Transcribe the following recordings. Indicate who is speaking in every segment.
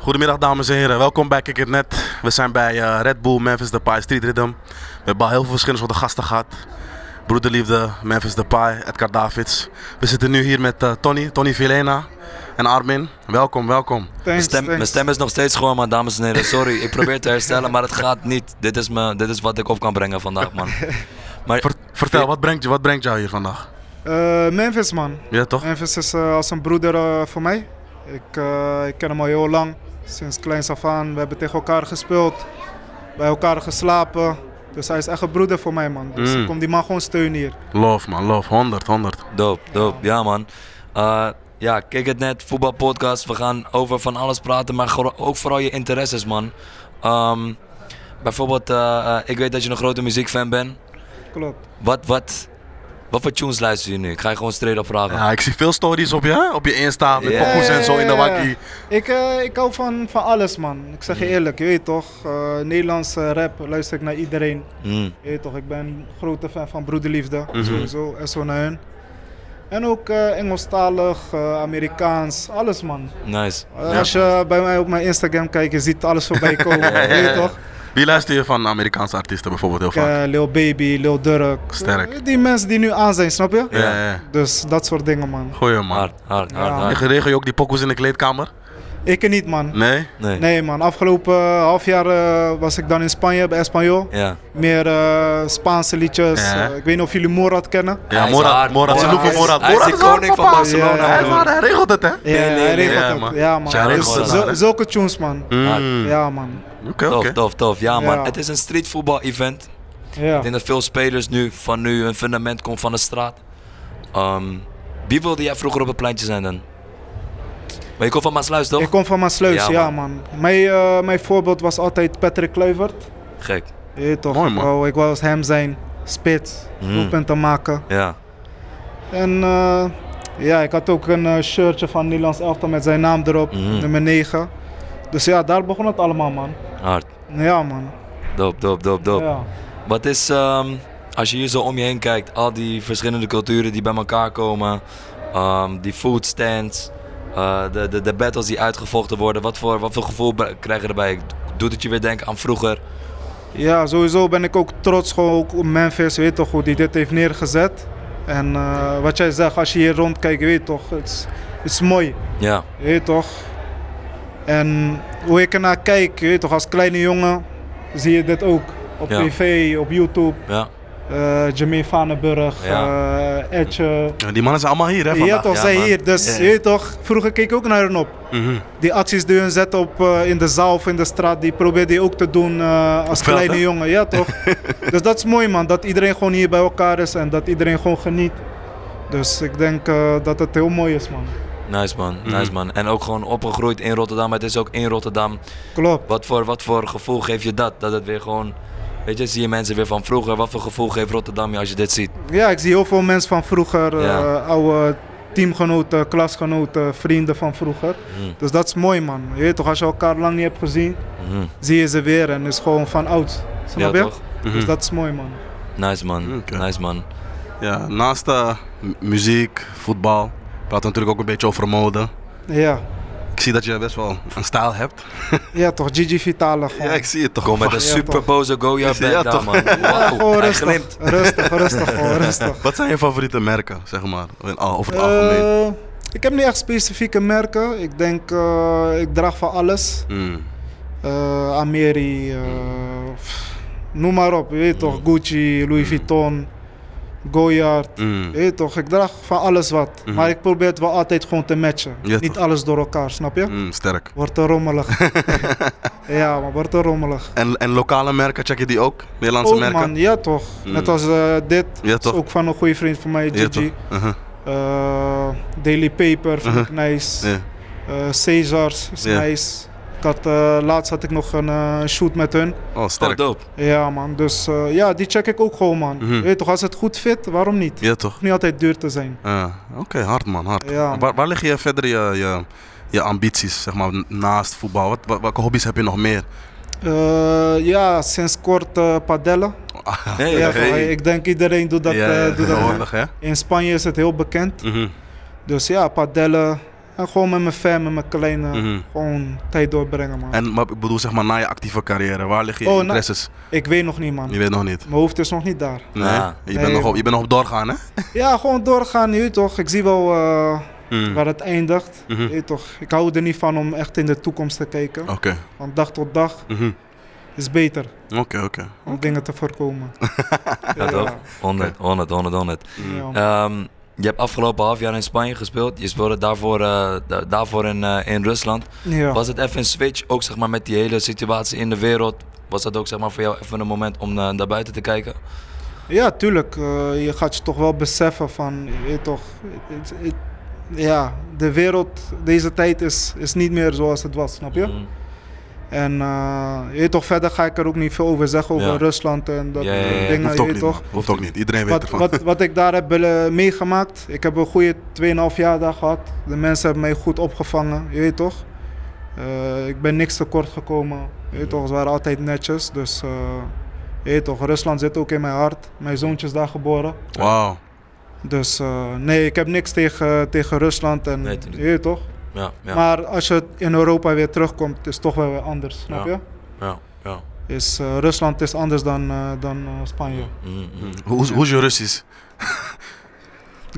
Speaker 1: Goedemiddag dames en heren, welkom bij Kick It Net. We zijn bij eh, Red Bull Memphis Depay Street Rhythm. We hebben al heel veel verschillende soorten gasten gehad. Broederliefde, Memphis Depay, Edgar Davids. We zitten nu hier met eh, Tony, Tony Vilena en Armin. Welkom, welkom.
Speaker 2: Thanks,
Speaker 3: Mijn stem, mijn
Speaker 2: thanks.
Speaker 3: stem is nog steeds gewoon, man, dames en heren. Sorry, ik probeer te herstellen, maar het gaat niet. Dit is, me, dit is wat ik op kan brengen vandaag, man. Maar
Speaker 1: Ver- vertel, wat brengt, je- wat brengt jou hier vandaag?
Speaker 2: Eh, Memphis, man.
Speaker 1: Ja toch?
Speaker 2: Memphis is eh, als een broeder eh, voor mij. Ik, eh, ik ken hem al heel lang, sinds kleins af aan. We hebben tegen elkaar gespeeld, bij elkaar geslapen. Dus hij is echt een broeder voor mij, man. Dus
Speaker 1: Mm.
Speaker 2: ik kom die man gewoon steunen hier.
Speaker 1: Love man, love. 100, 100.
Speaker 3: doop, doop. Ja, man. Eh, ja, kijk het net. Voetbalpodcast. We gaan over van alles praten, maar gro- ook vooral je interesses, man. Ehm, bijvoorbeeld, eh, eh, ik weet dat je een grote muziekfan bent.
Speaker 2: Klopt.
Speaker 3: Wat, wat, wat voor tunes luister je nu? Ik ga je gewoon straight op vragen.
Speaker 1: Ja, ik zie veel stories op je, hè? op je Insta met
Speaker 3: Ja.
Speaker 1: pokoes en zo in de wakkie.
Speaker 2: Ik, eh, ik hou van, van alles, man. Ik
Speaker 1: Mm.
Speaker 2: zeg je eerlijk, je weet toch. eh, Nederlandse rap luister ik naar iedereen.
Speaker 3: Mm.
Speaker 2: Je weet toch, ik ben een grote fan van Broederliefde,
Speaker 1: Mhm.
Speaker 2: sowieso, SO naar hun. En ook eh, Engelstalig, eh, Amerikaans, alles man.
Speaker 3: Nice.
Speaker 2: Eh, Als je bij mij op mijn Instagram kijkt, je ziet alles voorbij komen,
Speaker 1: ja,
Speaker 2: weet
Speaker 1: ja.
Speaker 2: je toch?
Speaker 1: Wie luister je van Amerikaanse artiesten bijvoorbeeld heel
Speaker 2: Ik,
Speaker 1: vaak?
Speaker 2: eh, Lil Baby, Lil Durk.
Speaker 1: Sterk.
Speaker 2: Eh, die mensen die nu aan zijn, snap je?
Speaker 1: Ja, ja, ja.
Speaker 2: Dus dat soort dingen man.
Speaker 1: Goeie man.
Speaker 3: Hard, hard, hard,
Speaker 2: Ja.
Speaker 3: hard.
Speaker 1: En regel je ook die pokoes in de kleedkamer?
Speaker 2: Ik niet man.
Speaker 1: Nee?
Speaker 3: Nee.
Speaker 2: Nee man, afgelopen half jaar eh, was ik dan in Spanje bij Espanol.
Speaker 3: Ja.
Speaker 2: Meer eh, Spaanse liedjes.
Speaker 1: Ja.
Speaker 2: Eh, ik weet niet of jullie Morad kennen.
Speaker 1: Ja,
Speaker 3: Hij is
Speaker 1: Morad,
Speaker 3: hard.
Speaker 1: Morad, ze
Speaker 2: Morad
Speaker 1: noemen
Speaker 2: is-
Speaker 1: Morad.
Speaker 3: hij is
Speaker 1: Morad
Speaker 3: de koning
Speaker 1: hard,
Speaker 3: van
Speaker 1: papa.
Speaker 3: Barcelona,
Speaker 1: Ja, hij, is
Speaker 3: broer.
Speaker 1: hard, hij regelt het, hè?
Speaker 2: Ja,
Speaker 3: nee,
Speaker 2: hij
Speaker 3: nee,
Speaker 2: regelt
Speaker 1: ja,
Speaker 2: ook.
Speaker 1: man.
Speaker 2: Ja, man.
Speaker 1: Zij
Speaker 2: Dus
Speaker 1: regelt het
Speaker 2: zo-
Speaker 1: daar, hè?
Speaker 2: zulke tunes, man.
Speaker 1: Mm,
Speaker 2: Ja, man.
Speaker 1: Oké,
Speaker 3: Tof,
Speaker 1: oké.
Speaker 3: tof, tof. Ja, man.
Speaker 2: Ja.
Speaker 3: Het is een streetvoetbal-event.
Speaker 2: Ja.
Speaker 3: Ik denk dat veel spelers nu van nu hun fundament komt van de straat. Ehm, wie wilde jij vroeger op het pleintje zijn dan? Maar je komt van Maasluis toch?
Speaker 2: Ik kom van Maasluis,
Speaker 3: Ja,
Speaker 2: ja, man. Mijn, eh, mijn voorbeeld was altijd Patrick Kluivert.
Speaker 3: Gek.
Speaker 2: Je weet toch?
Speaker 1: Mooi, man. Mhm.
Speaker 2: wou- ik wou als hem zijn. Spits.
Speaker 3: Mm.
Speaker 2: Doelpunten maken.
Speaker 3: Ja.
Speaker 2: En eh, ja, ik had ook een eh, shirtje van Nederlands Elftal met zijn naam erop.
Speaker 1: Mhm.
Speaker 3: Mm.
Speaker 2: Nummer 9. Dus ja, daar begon het allemaal, man.
Speaker 3: Hard.
Speaker 2: Ja, man.
Speaker 3: Doop, doop, doop, doop.
Speaker 2: Ja.
Speaker 3: Wat is, ehm, als je hier zo om je heen kijkt, al die verschillende culturen die bij elkaar komen, ehm, die food stands, eh, de, de, de battles die uitgevochten worden, wat voor, wat voor gevoel be- krijg je erbij? Doet het je weer denken aan vroeger?
Speaker 2: Ja, sowieso ben ik ook trots gewoon ook op Memphis, weet toch, hoe die dit heeft neergezet. En eh, wat jij zegt, als je hier rondkijkt, weet toch, het is, het is mooi,
Speaker 3: Ja,
Speaker 2: weet toch. En hoe ik ernaar kijk, weet toch, als kleine jongen zie je dit ook. Op
Speaker 3: Ja.
Speaker 2: tv, op YouTube,
Speaker 3: ja.
Speaker 2: eh Jamie Vanenburg, eh Etje.
Speaker 1: Ja, Die mannen zijn allemaal hier, hè,
Speaker 2: Je
Speaker 1: vandaag.
Speaker 2: weet toch,
Speaker 3: ja,
Speaker 2: zij
Speaker 3: man.
Speaker 2: hier. Dus
Speaker 3: Ja.
Speaker 2: je weet toch, vroeger keek ik ook naar hen op.
Speaker 1: Mhm.
Speaker 2: Die acties die hun zetten op, eh, in de zaal of in de straat, die probeerde je ook te doen eh, als
Speaker 1: veld,
Speaker 2: kleine
Speaker 1: hè?
Speaker 2: jongen. Ja, toch? dus dat is mooi, man. Dat iedereen gewoon hier bij elkaar is en dat iedereen gewoon geniet. Dus ik denk eh, dat het heel mooi is, man.
Speaker 3: Nice man,
Speaker 2: Mhm.
Speaker 3: nice man. En ook gewoon opgegroeid in Rotterdam. Het is ook in Rotterdam.
Speaker 2: Klopt.
Speaker 3: Wat voor, wat voor gevoel geeft je dat? Dat het weer gewoon. Weet je, zie je mensen weer van vroeger. Wat voor gevoel geeft Rotterdam je als je dit ziet?
Speaker 2: Ja, ik zie heel veel mensen van vroeger, eh,
Speaker 3: Ja.
Speaker 2: oude teamgenoten, klasgenoten, vrienden van vroeger.
Speaker 3: Mm.
Speaker 2: Dus dat is mooi, man. Je weet toch, als je elkaar lang niet hebt gezien,
Speaker 3: Mhm.
Speaker 2: zie je ze weer en is gewoon van oud. Snap je?
Speaker 3: Ja, toch?
Speaker 1: Mhm.
Speaker 2: Dus dat is mooi, man.
Speaker 3: Nice man,
Speaker 1: Oké.
Speaker 3: nice man.
Speaker 1: Ja, naast eh, m- muziek, voetbal, praten we natuurlijk ook een beetje over mode.
Speaker 2: Ja.
Speaker 1: Ik zie dat je best wel een stijl hebt.
Speaker 2: Ja toch, Gigi Vitale gewoon.
Speaker 1: Ja, ik zie het toch.
Speaker 3: Kom met een
Speaker 1: Wat-
Speaker 2: Ja,
Speaker 3: super
Speaker 2: toch.
Speaker 3: boze go-ja
Speaker 1: Ja,
Speaker 3: bed daar
Speaker 1: toch?
Speaker 3: man.
Speaker 2: Ja,
Speaker 3: Wauw,
Speaker 2: gewoon
Speaker 3: hij
Speaker 2: Oh, rustig,
Speaker 3: glimt.
Speaker 2: rustig, rustig, gewoon rustig.
Speaker 1: Wat zijn je favoriete merken, zeg maar, in- al- over het algemeen?
Speaker 2: Eh, ik heb niet echt specifieke merken. Ik denk, eh, ik draag van alles.
Speaker 1: Mm.
Speaker 2: Eh Ameri, eh, pff, noem maar op. Je weet toch, Gucci, Louis Vuitton, Goyard.
Speaker 1: Mm.
Speaker 2: Je weet toch, ik draag van alles wat.
Speaker 1: Mhm.
Speaker 2: Maar ik probeer het wel altijd gewoon te matchen.
Speaker 1: Ja,
Speaker 2: niet
Speaker 1: toch.
Speaker 2: alles door elkaar, snap je?
Speaker 1: Mm, sterk.
Speaker 2: Wordt te rommelig. ja, maar wordt te rommelig.
Speaker 1: En, en lokale merken, check je die ook? Nederlandse
Speaker 2: Ook,
Speaker 1: merken?
Speaker 2: man, ja toch.
Speaker 1: Mm.
Speaker 2: Net als eh, dit.
Speaker 1: Ja,
Speaker 2: Dat is
Speaker 1: toch.
Speaker 2: ook van een goede vriend van mij,
Speaker 1: Ja,
Speaker 2: Gigi.
Speaker 1: toch? Mhm.
Speaker 2: Eh, Daily Paper vind ik nice.
Speaker 1: Ja.
Speaker 2: Eh, Caesars is
Speaker 1: Ja.
Speaker 2: nice. Ik had, eh, laatst had ik nog een eh, shoot met hun.
Speaker 1: Oh,
Speaker 3: Oh,
Speaker 1: sterk.
Speaker 3: dope.
Speaker 2: Ja man, dus eh, ja, die check ik ook gewoon man.
Speaker 1: Mhm.
Speaker 2: Weet toch, als het goed fit, waarom niet? Het
Speaker 1: Ja, toch?
Speaker 2: hoeft niet altijd duur te zijn.
Speaker 1: Ja, Oké, hard man, hard.
Speaker 2: Ja, man.
Speaker 1: Waar, waar liggen je verder je, je, je ambities, zeg maar, naast voetbal? Wat, wat- welke hobby's heb je nog meer?
Speaker 2: Eh, ja, sinds kort eh, padellen.
Speaker 3: Nee,
Speaker 2: Ja,
Speaker 3: ja,
Speaker 1: hey.
Speaker 2: eh, Ik denk iedereen doet dat. eh, doet dat.
Speaker 1: tegenwoordig, hè?
Speaker 2: In Spanje is het heel bekend.
Speaker 1: Mhm.
Speaker 2: Dus ja, padellen. En gewoon met mijn fam, met mijn kleine,
Speaker 1: Mhm.
Speaker 2: gewoon tijd doorbrengen, man.
Speaker 1: En maar, ik bedoel, zeg maar, na je actieve carrière, waar liggen je
Speaker 2: Oh, na-
Speaker 1: interesses?
Speaker 2: Ik weet nog niet, man.
Speaker 1: Je weet nog niet.
Speaker 2: Mijn hoofd is nog niet daar.
Speaker 1: Nee?
Speaker 3: Ah.
Speaker 1: Je,
Speaker 2: Nee,
Speaker 1: bent nog op, je bent nog op doorgaan, hè?
Speaker 2: Ja, gewoon doorgaan, nu toch. Ik zie wel eh,
Speaker 1: Mm.
Speaker 2: waar het eindigt.
Speaker 1: Mhm.
Speaker 2: Je weet toch. Ik hou er niet van om echt in de toekomst te kijken.
Speaker 1: Oké.
Speaker 2: Want dag tot dag
Speaker 1: Mhm.
Speaker 2: is beter
Speaker 1: Oké, oké.
Speaker 2: om dingen te voorkomen. eh,
Speaker 3: Ja, toch? 100, 100, 100, 100.
Speaker 1: Mm.
Speaker 2: Ja.
Speaker 3: Ehm, je hebt afgelopen half jaar in Spanje gespeeld. Je speelde daarvoor, eh, da- daarvoor in, eh, in Rusland.
Speaker 2: Ja.
Speaker 3: Was het even een switch, ook zeg maar, met die hele situatie in de wereld? Was dat ook zeg maar, voor jou even een moment om eh, naar buiten te kijken?
Speaker 2: Ja, tuurlijk. Eh, je gaat je toch wel beseffen van, je weet toch, het- het- ja, de wereld deze tijd is, is niet meer zoals het was, snap je?
Speaker 3: Mhm.
Speaker 2: En eh, je weet toch, verder ga ik er ook niet veel over zeggen, over
Speaker 3: Ja.
Speaker 2: Rusland en dat
Speaker 3: Ja, ja, ja.
Speaker 2: soort dingen,
Speaker 1: Hoeft
Speaker 2: je
Speaker 1: ook
Speaker 2: weet
Speaker 1: niet,
Speaker 2: toch.
Speaker 1: man. Hoeft ook niet. Iedereen weet
Speaker 2: Wat,
Speaker 1: ervan.
Speaker 2: wat, wat ik daar heb willen- meegemaakt, ik heb een goede 2,5 jaar daar gehad. De mensen hebben mij goed opgevangen, je weet toch. Eh, ik ben niks tekort gekomen, je weet toch, ze waren altijd netjes. Dus eh, je weet toch, Rusland zit ook in mijn hart. Mijn zoontje is daar geboren.
Speaker 1: Wauw.
Speaker 2: Dus eh, nee, ik heb niks tegen, tegen Rusland en
Speaker 3: Nee,
Speaker 2: je
Speaker 3: tuurlijk.
Speaker 2: weet toch.
Speaker 3: Ja, ja,
Speaker 2: Maar als je in Europa weer terugkomt, is het toch wel weer anders, snap
Speaker 3: Ja.
Speaker 2: je?
Speaker 3: ja, ja.
Speaker 2: Is, eh, Rusland is anders dan, eh, dan eh, Spanje.
Speaker 3: Mhm, mhm.
Speaker 1: Hoe, is- hoe is je Russisch?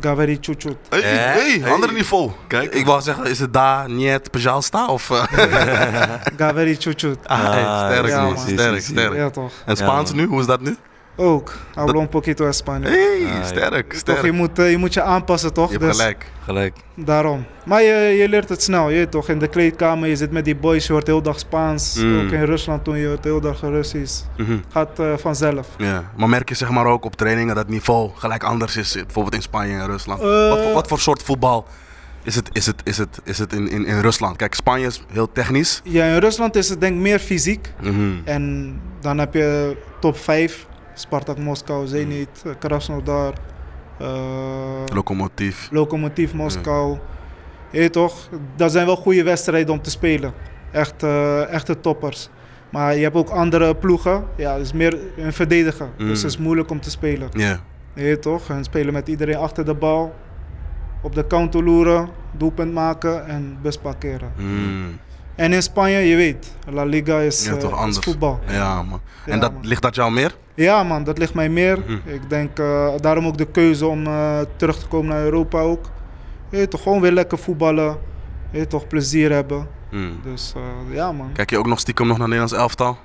Speaker 2: Gaveri chuchut.
Speaker 1: Hey,
Speaker 3: Eh?
Speaker 1: hey,
Speaker 3: Hey.
Speaker 1: ander niveau. Kijk. Ik wou zeggen, is het daar, niet, Pajalsta of... eh,
Speaker 2: Gaveri chuchut.
Speaker 1: Ah, hey,
Speaker 3: Ah,
Speaker 1: sterk,
Speaker 2: ja,
Speaker 1: man.
Speaker 2: man.
Speaker 1: Sterk,
Speaker 3: Zie,
Speaker 1: sterk.
Speaker 2: Ja toch.
Speaker 1: En Spaans
Speaker 3: Ja,
Speaker 1: nu? Hoe is dat nu?
Speaker 2: Ook. Hablo un poquito español.
Speaker 1: Hey,
Speaker 3: Ah, ja.
Speaker 1: sterk,
Speaker 2: Toch, je
Speaker 1: sterk.
Speaker 2: moet, eh, je moet je aanpassen toch?
Speaker 1: Je hebt
Speaker 2: Dus
Speaker 1: gelijk.
Speaker 3: Gelijk.
Speaker 2: Daarom. Maar je, je leert het snel, je weet toch. In de kleedkamer, je zit met die boys, je hoort heel dag Spaans.
Speaker 1: Mm.
Speaker 2: Ook in Rusland toen, je hoort heel dag Russisch.
Speaker 1: Mhm.
Speaker 2: Gaat eh, vanzelf.
Speaker 1: Ja, maar merk je zeg maar ook op trainingen dat het niveau gelijk anders is, bijvoorbeeld in Spanje en Rusland?
Speaker 2: Eh.
Speaker 1: Wat, voor, wat voor soort voetbal is het, is het, is het, is het in, in, in Rusland? Kijk, Spanje is heel technisch.
Speaker 2: Ja, in Rusland is het denk ik meer fysiek.
Speaker 1: Mhm.
Speaker 2: En dan heb je top 5. Spartak Moskou, Zenit, eh, Krasnodar, eh
Speaker 1: Locomotief.
Speaker 2: Lokomotiv Moskou. Je weet toch, dat zijn wel goede wedstrijden om te spelen. Echt, eh, echte toppers. Maar je hebt ook andere ploegen. Ja, het is meer een verdediger.
Speaker 1: Mm.
Speaker 2: Dus het is moeilijk om te spelen.
Speaker 1: Ja.
Speaker 2: Je weet toch, en spelen met iedereen achter de bal. Op de counter loeren, doelpunt maken en best parkeren.
Speaker 1: Mm.
Speaker 2: En in Spanje, je weet, La Liga is,
Speaker 1: Ja,
Speaker 2: eh,
Speaker 1: toch
Speaker 2: is
Speaker 1: anders.
Speaker 2: voetbal.
Speaker 1: Ja, man.
Speaker 2: Ja,
Speaker 1: en dat,
Speaker 2: man.
Speaker 1: ligt dat jou meer?
Speaker 2: Ja man, dat ligt mij meer.
Speaker 1: Mhm.
Speaker 2: Ik denk eh, daarom ook de keuze om eh, terug te komen naar Europa ook. Je weet toch, gewoon weer lekker voetballen. Je weet toch, plezier hebben.
Speaker 1: Mm.
Speaker 2: Dus eh, ja man.
Speaker 1: Kijk je ook nog stiekem nog naar Nederlands elftal?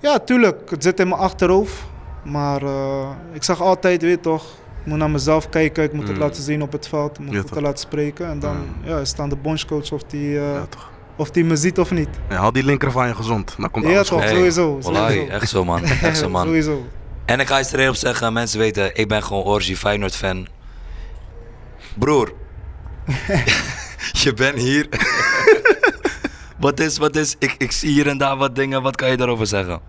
Speaker 2: Ja, tuurlijk, het zit in mijn achterhoofd. Maar eh, ik zeg altijd, je weet toch, ik moet naar mezelf kijken. Ik moet het
Speaker 1: Mm.
Speaker 2: laten zien op het veld. Ik moet
Speaker 1: Ja,
Speaker 2: het
Speaker 1: toch.
Speaker 2: laten spreken. En dan
Speaker 1: Mm.
Speaker 2: ja, is het aan de bondscoach of die, eh,
Speaker 1: Ja, toch.
Speaker 2: of die me ziet of niet.
Speaker 1: Ja, hou die linker van je gezond. Dan komt
Speaker 2: Ja,
Speaker 1: alles
Speaker 2: toch.
Speaker 1: goed.
Speaker 2: Hey, sowieso,
Speaker 3: Wallahi,
Speaker 2: sowieso.
Speaker 3: echt zo man, echt zo man.
Speaker 2: Sowieso.
Speaker 3: En ik ga iets erheen op zeggen, mensen weten, ik ben gewoon Orgy Feyenoord fan. Broer, je bent hier. wat is, wat is, ik, ik zie hier en daar wat dingen, wat kan je daarover zeggen?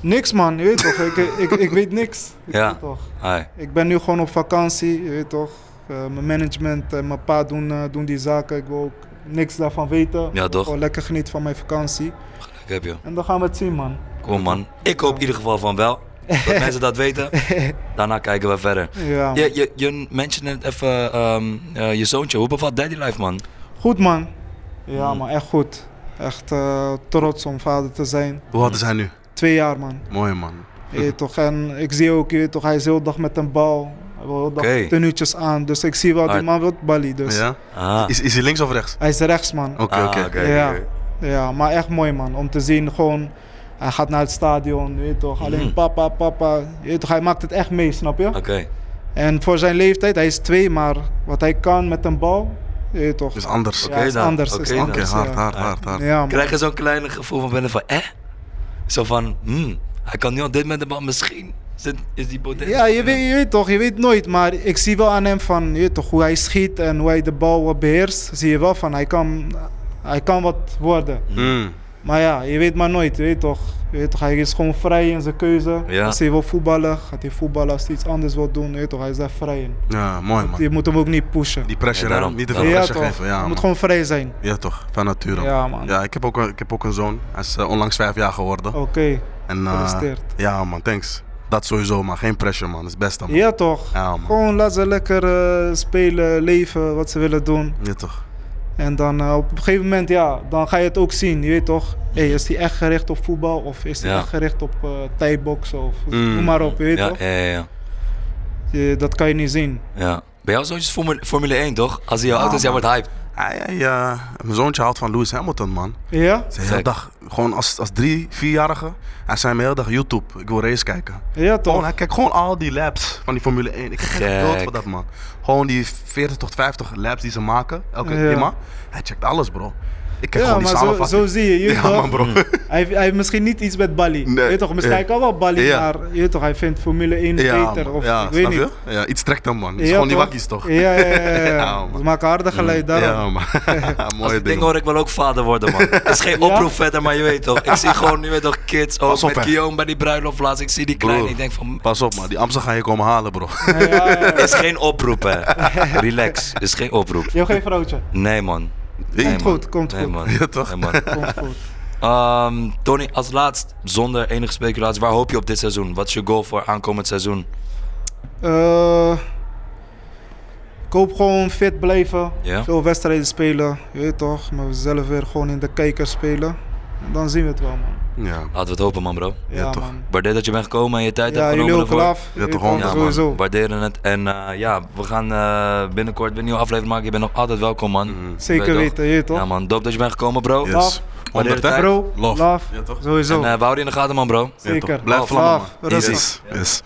Speaker 2: Niks man, je weet toch, ik, ik, ik weet niks. Ik
Speaker 3: Ja.
Speaker 2: weet toch.
Speaker 3: Hai.
Speaker 2: Ik ben nu gewoon op vakantie, je weet toch. Eh, mijn management en mijn pa doen, eh, doen die zaken. Ik wil ook niks daarvan weten. Ik wil
Speaker 3: toch?
Speaker 2: Gewoon lekker genieten van mijn vakantie.
Speaker 3: ik heb je.
Speaker 2: En dan gaan we het zien, man.
Speaker 3: Kom man. Ik hoop in ieder geval van wel, dat mensen dat weten. Daarna kijken we verder.
Speaker 2: Ja.
Speaker 3: Je, je, je mentioned net even ehm, eh, je zoontje, hoe bevat Daddy Life man?
Speaker 2: Goed, man. Ja,
Speaker 3: Mm.
Speaker 2: man, echt goed. Echt eh, trots om vader te zijn.
Speaker 1: Hoe oud is hij nu?
Speaker 2: Twee jaar, man.
Speaker 1: Mooi, man.
Speaker 2: Je weet toch? En ik zie ook, je weet toch, hij is heel dag met een bal. Hij wil heel dag
Speaker 3: Oké.
Speaker 2: tenuutjes aan. Dus ik zie wel, die
Speaker 3: Hard.
Speaker 2: man wil balie. Dus.
Speaker 1: Ja?
Speaker 3: Ah,
Speaker 1: Is, is hij links of rechts?
Speaker 2: Hij is rechts, man.
Speaker 1: Oké,
Speaker 3: Ah,
Speaker 1: oké.
Speaker 2: Ja. Ja, maar echt mooi man. Om te zien gewoon, hij gaat naar het stadion, weet je toch. Alleen
Speaker 3: Mhm.
Speaker 2: papa, papa. Je weet toch, hij maakt het echt mee, snap je?
Speaker 3: Oké.
Speaker 2: En voor zijn leeftijd, hij is twee, maar wat hij kan met een bal, je weet toch.
Speaker 1: Is Dus anders.
Speaker 2: Ja,
Speaker 1: Oké,
Speaker 3: Oké
Speaker 2: is
Speaker 3: dan,
Speaker 2: anders. is
Speaker 3: oké dan.
Speaker 2: anders, ja.
Speaker 1: hard, hard, hard, hard.
Speaker 2: Ja, man.
Speaker 3: krijg je zo'n kleine gevoel van binnen van, eh? Zo van, hmm, hij kan nu al dit met de bal, misschien zit, is die Baudet.
Speaker 2: ja je, weet, je weet toch, je weet nooit. Maar ik zie wel aan hem van, je weet toch, hoe hij schiet en hoe hij de bal beheerst. Zie je wel van, hij kan, hij kan wat worden.
Speaker 1: Mm.
Speaker 2: Maar ja, je weet maar nooit, je weet toch. Je weet toch hij is gewoon vrij in zijn keuze.
Speaker 3: Ja.
Speaker 2: Als hij wil voetballen, gaat hij voetballen. Als hij iets anders wil doen, je weet toch, hij is daar vrij in.
Speaker 1: Ja, mooi, man.
Speaker 2: Je moet hem ook niet pushen.
Speaker 1: Die pressure,
Speaker 3: Ja,
Speaker 1: hè?
Speaker 3: daarom.
Speaker 1: Niet te veel
Speaker 3: Daarom.
Speaker 2: ja,
Speaker 1: pressure
Speaker 2: toch?
Speaker 1: geven. Ja,
Speaker 2: je
Speaker 1: man.
Speaker 2: moet gewoon vrij zijn.
Speaker 1: ja, toch? Van nature.
Speaker 2: Ja, man.
Speaker 1: Ja, ik heb ook, ik heb ook een zoon. Hij is eh, onlangs vijf jaar geworden.
Speaker 2: Oké.
Speaker 1: en, eh,
Speaker 2: gefeliciteerd.
Speaker 1: ja, man, thanks. Dat sowieso, man. Geen pressure, man. Dat is het beste, man.
Speaker 2: Ja, toch?
Speaker 1: Ja, man.
Speaker 2: Gewoon laat ze lekker eh, spelen, leven, wat ze willen doen.
Speaker 1: Ja, toch?
Speaker 2: En dan eh, op een gegeven moment, ja, dan ga je het ook zien. Je weet toch, hey, is die echt gericht op voetbal of is die
Speaker 3: Ja.
Speaker 2: echt gericht op eh thai-boksen of
Speaker 1: Mm.
Speaker 2: noem maar op, je weet
Speaker 3: Ja,
Speaker 2: toch.
Speaker 3: ja, ja, ja,
Speaker 2: Je- dat kan je niet zien.
Speaker 3: ja. Bij jou zoontje is Formule, Formule 1, toch? Als hij jou oud is, jij wordt hyped.
Speaker 1: Hij, hij, eh, mijn zoontje houdt van Lewis Hamilton, man.
Speaker 2: Ja?
Speaker 1: Zijn hele
Speaker 3: Gek.
Speaker 1: dag, gewoon als, als drie, vierjarige, hij zei mijn hele dag YouTube. Ik wil race kijken.
Speaker 2: Ja
Speaker 1: Gewoon,
Speaker 2: toch?
Speaker 1: hij kijkt gewoon al die laps van die Formule 1. Ik krijg echt
Speaker 3: Gek.
Speaker 1: dood van dat, man. Gewoon die 40 tot 50 laps die ze maken, elke
Speaker 2: Ja.
Speaker 1: thema. Hij checkt alles, bro. Ik kijk
Speaker 2: Ja,
Speaker 1: gewoon die
Speaker 2: maar zo, zo
Speaker 1: samenvatting.
Speaker 2: zie je, je weet
Speaker 1: ja,
Speaker 2: toch?
Speaker 1: man, bro.
Speaker 2: Hij, heeft- hij heeft misschien niet iets met Bali.
Speaker 1: Nee.
Speaker 2: Weet toch, misschien
Speaker 1: Ja.
Speaker 2: hij kan wel Bali,
Speaker 1: Ja.
Speaker 2: maar je weet toch, hij vindt Formule 1
Speaker 1: ja,
Speaker 2: beter.
Speaker 1: man.
Speaker 2: Of,
Speaker 1: ja,
Speaker 2: ik weet
Speaker 1: snap
Speaker 2: niet.
Speaker 1: je? Ja, iets trekt hem, man. Het is
Speaker 2: Ja,
Speaker 1: gewoon die wakkies, toch?
Speaker 2: Ja, ja, ja. ja.
Speaker 1: Ja, man.
Speaker 2: Ze maken harde geluid daarom.
Speaker 1: Ja, man.
Speaker 3: Als
Speaker 1: Mooie
Speaker 3: ik
Speaker 1: ding.
Speaker 3: denk hoor ik wel ook vader worden, man. Het is geen
Speaker 2: Ja?
Speaker 3: oproep verder, maar je weet toch. Ik zie gewoon, je weet toch, kids ook
Speaker 1: Pas op,
Speaker 3: met
Speaker 1: hè.
Speaker 3: Guillaume bij die bruiloft laatst. Ik zie die kleine,
Speaker 1: Broer.
Speaker 3: ik denk van...
Speaker 1: Pas op, man. Die Amsterdam gaan je komen halen, bro.
Speaker 2: Ja, ja, ja.
Speaker 3: Het is geen oproep, hè. Relax, het is geen oproep.
Speaker 2: Je hebt geen vrouwtje.
Speaker 3: Nee, man.
Speaker 1: Hey,
Speaker 3: Nee,
Speaker 2: Komt
Speaker 3: man.
Speaker 2: goed, komt
Speaker 3: Nee,
Speaker 2: goed.
Speaker 3: man.
Speaker 1: Ja, toch?
Speaker 3: Nee, man.
Speaker 2: Komt goed.
Speaker 3: Ehm, Tony, als laatst, zonder enige speculatie, waar hoop je op dit seizoen? Wat is je goal voor aankomend seizoen?
Speaker 2: Eh, ik hoop gewoon fit blijven.
Speaker 3: Ja.
Speaker 2: Veel wedstrijden spelen. Je weet toch, maar we zelf weer gewoon in de kijker spelen. En dan zien we het wel, man.
Speaker 1: Ja.
Speaker 3: Laten we het hopen, man, bro.
Speaker 1: Ja,
Speaker 2: Ja,
Speaker 1: toch.
Speaker 2: man.
Speaker 3: Waardeer dat je bent gekomen en je tijd
Speaker 2: Ja,
Speaker 3: hebt
Speaker 2: jullie
Speaker 3: genomen.
Speaker 2: ook
Speaker 3: ervoor.
Speaker 2: laf.
Speaker 1: Ja, toch, man.
Speaker 3: Ja, man,
Speaker 2: sowieso.
Speaker 3: waarderen het. En eh, ja, we gaan eh, binnenkort weer een nieuwe aflevering maken. Je bent nog altijd welkom, man.
Speaker 2: Zeker
Speaker 3: Weet je
Speaker 2: weten, je weet
Speaker 3: toch? Ja,
Speaker 2: toch?
Speaker 3: man. Doop dat je bent gekomen, bro.
Speaker 2: Mhm. Ja.
Speaker 1: Yes.
Speaker 3: Wanneer
Speaker 1: 100, hè?
Speaker 3: tijd?
Speaker 2: Bro,
Speaker 1: Love.
Speaker 2: love.
Speaker 1: Ja, toch?
Speaker 3: En
Speaker 2: Sowieso.
Speaker 3: eh, we houden je in de gaten, man, bro.
Speaker 1: Ja, toch?
Speaker 2: Zeker.
Speaker 1: Blijf
Speaker 2: Love,
Speaker 1: vlammen,
Speaker 2: love.
Speaker 1: man.
Speaker 2: Rustig.
Speaker 1: Yes. yes.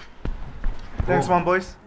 Speaker 2: Thanks man, boys.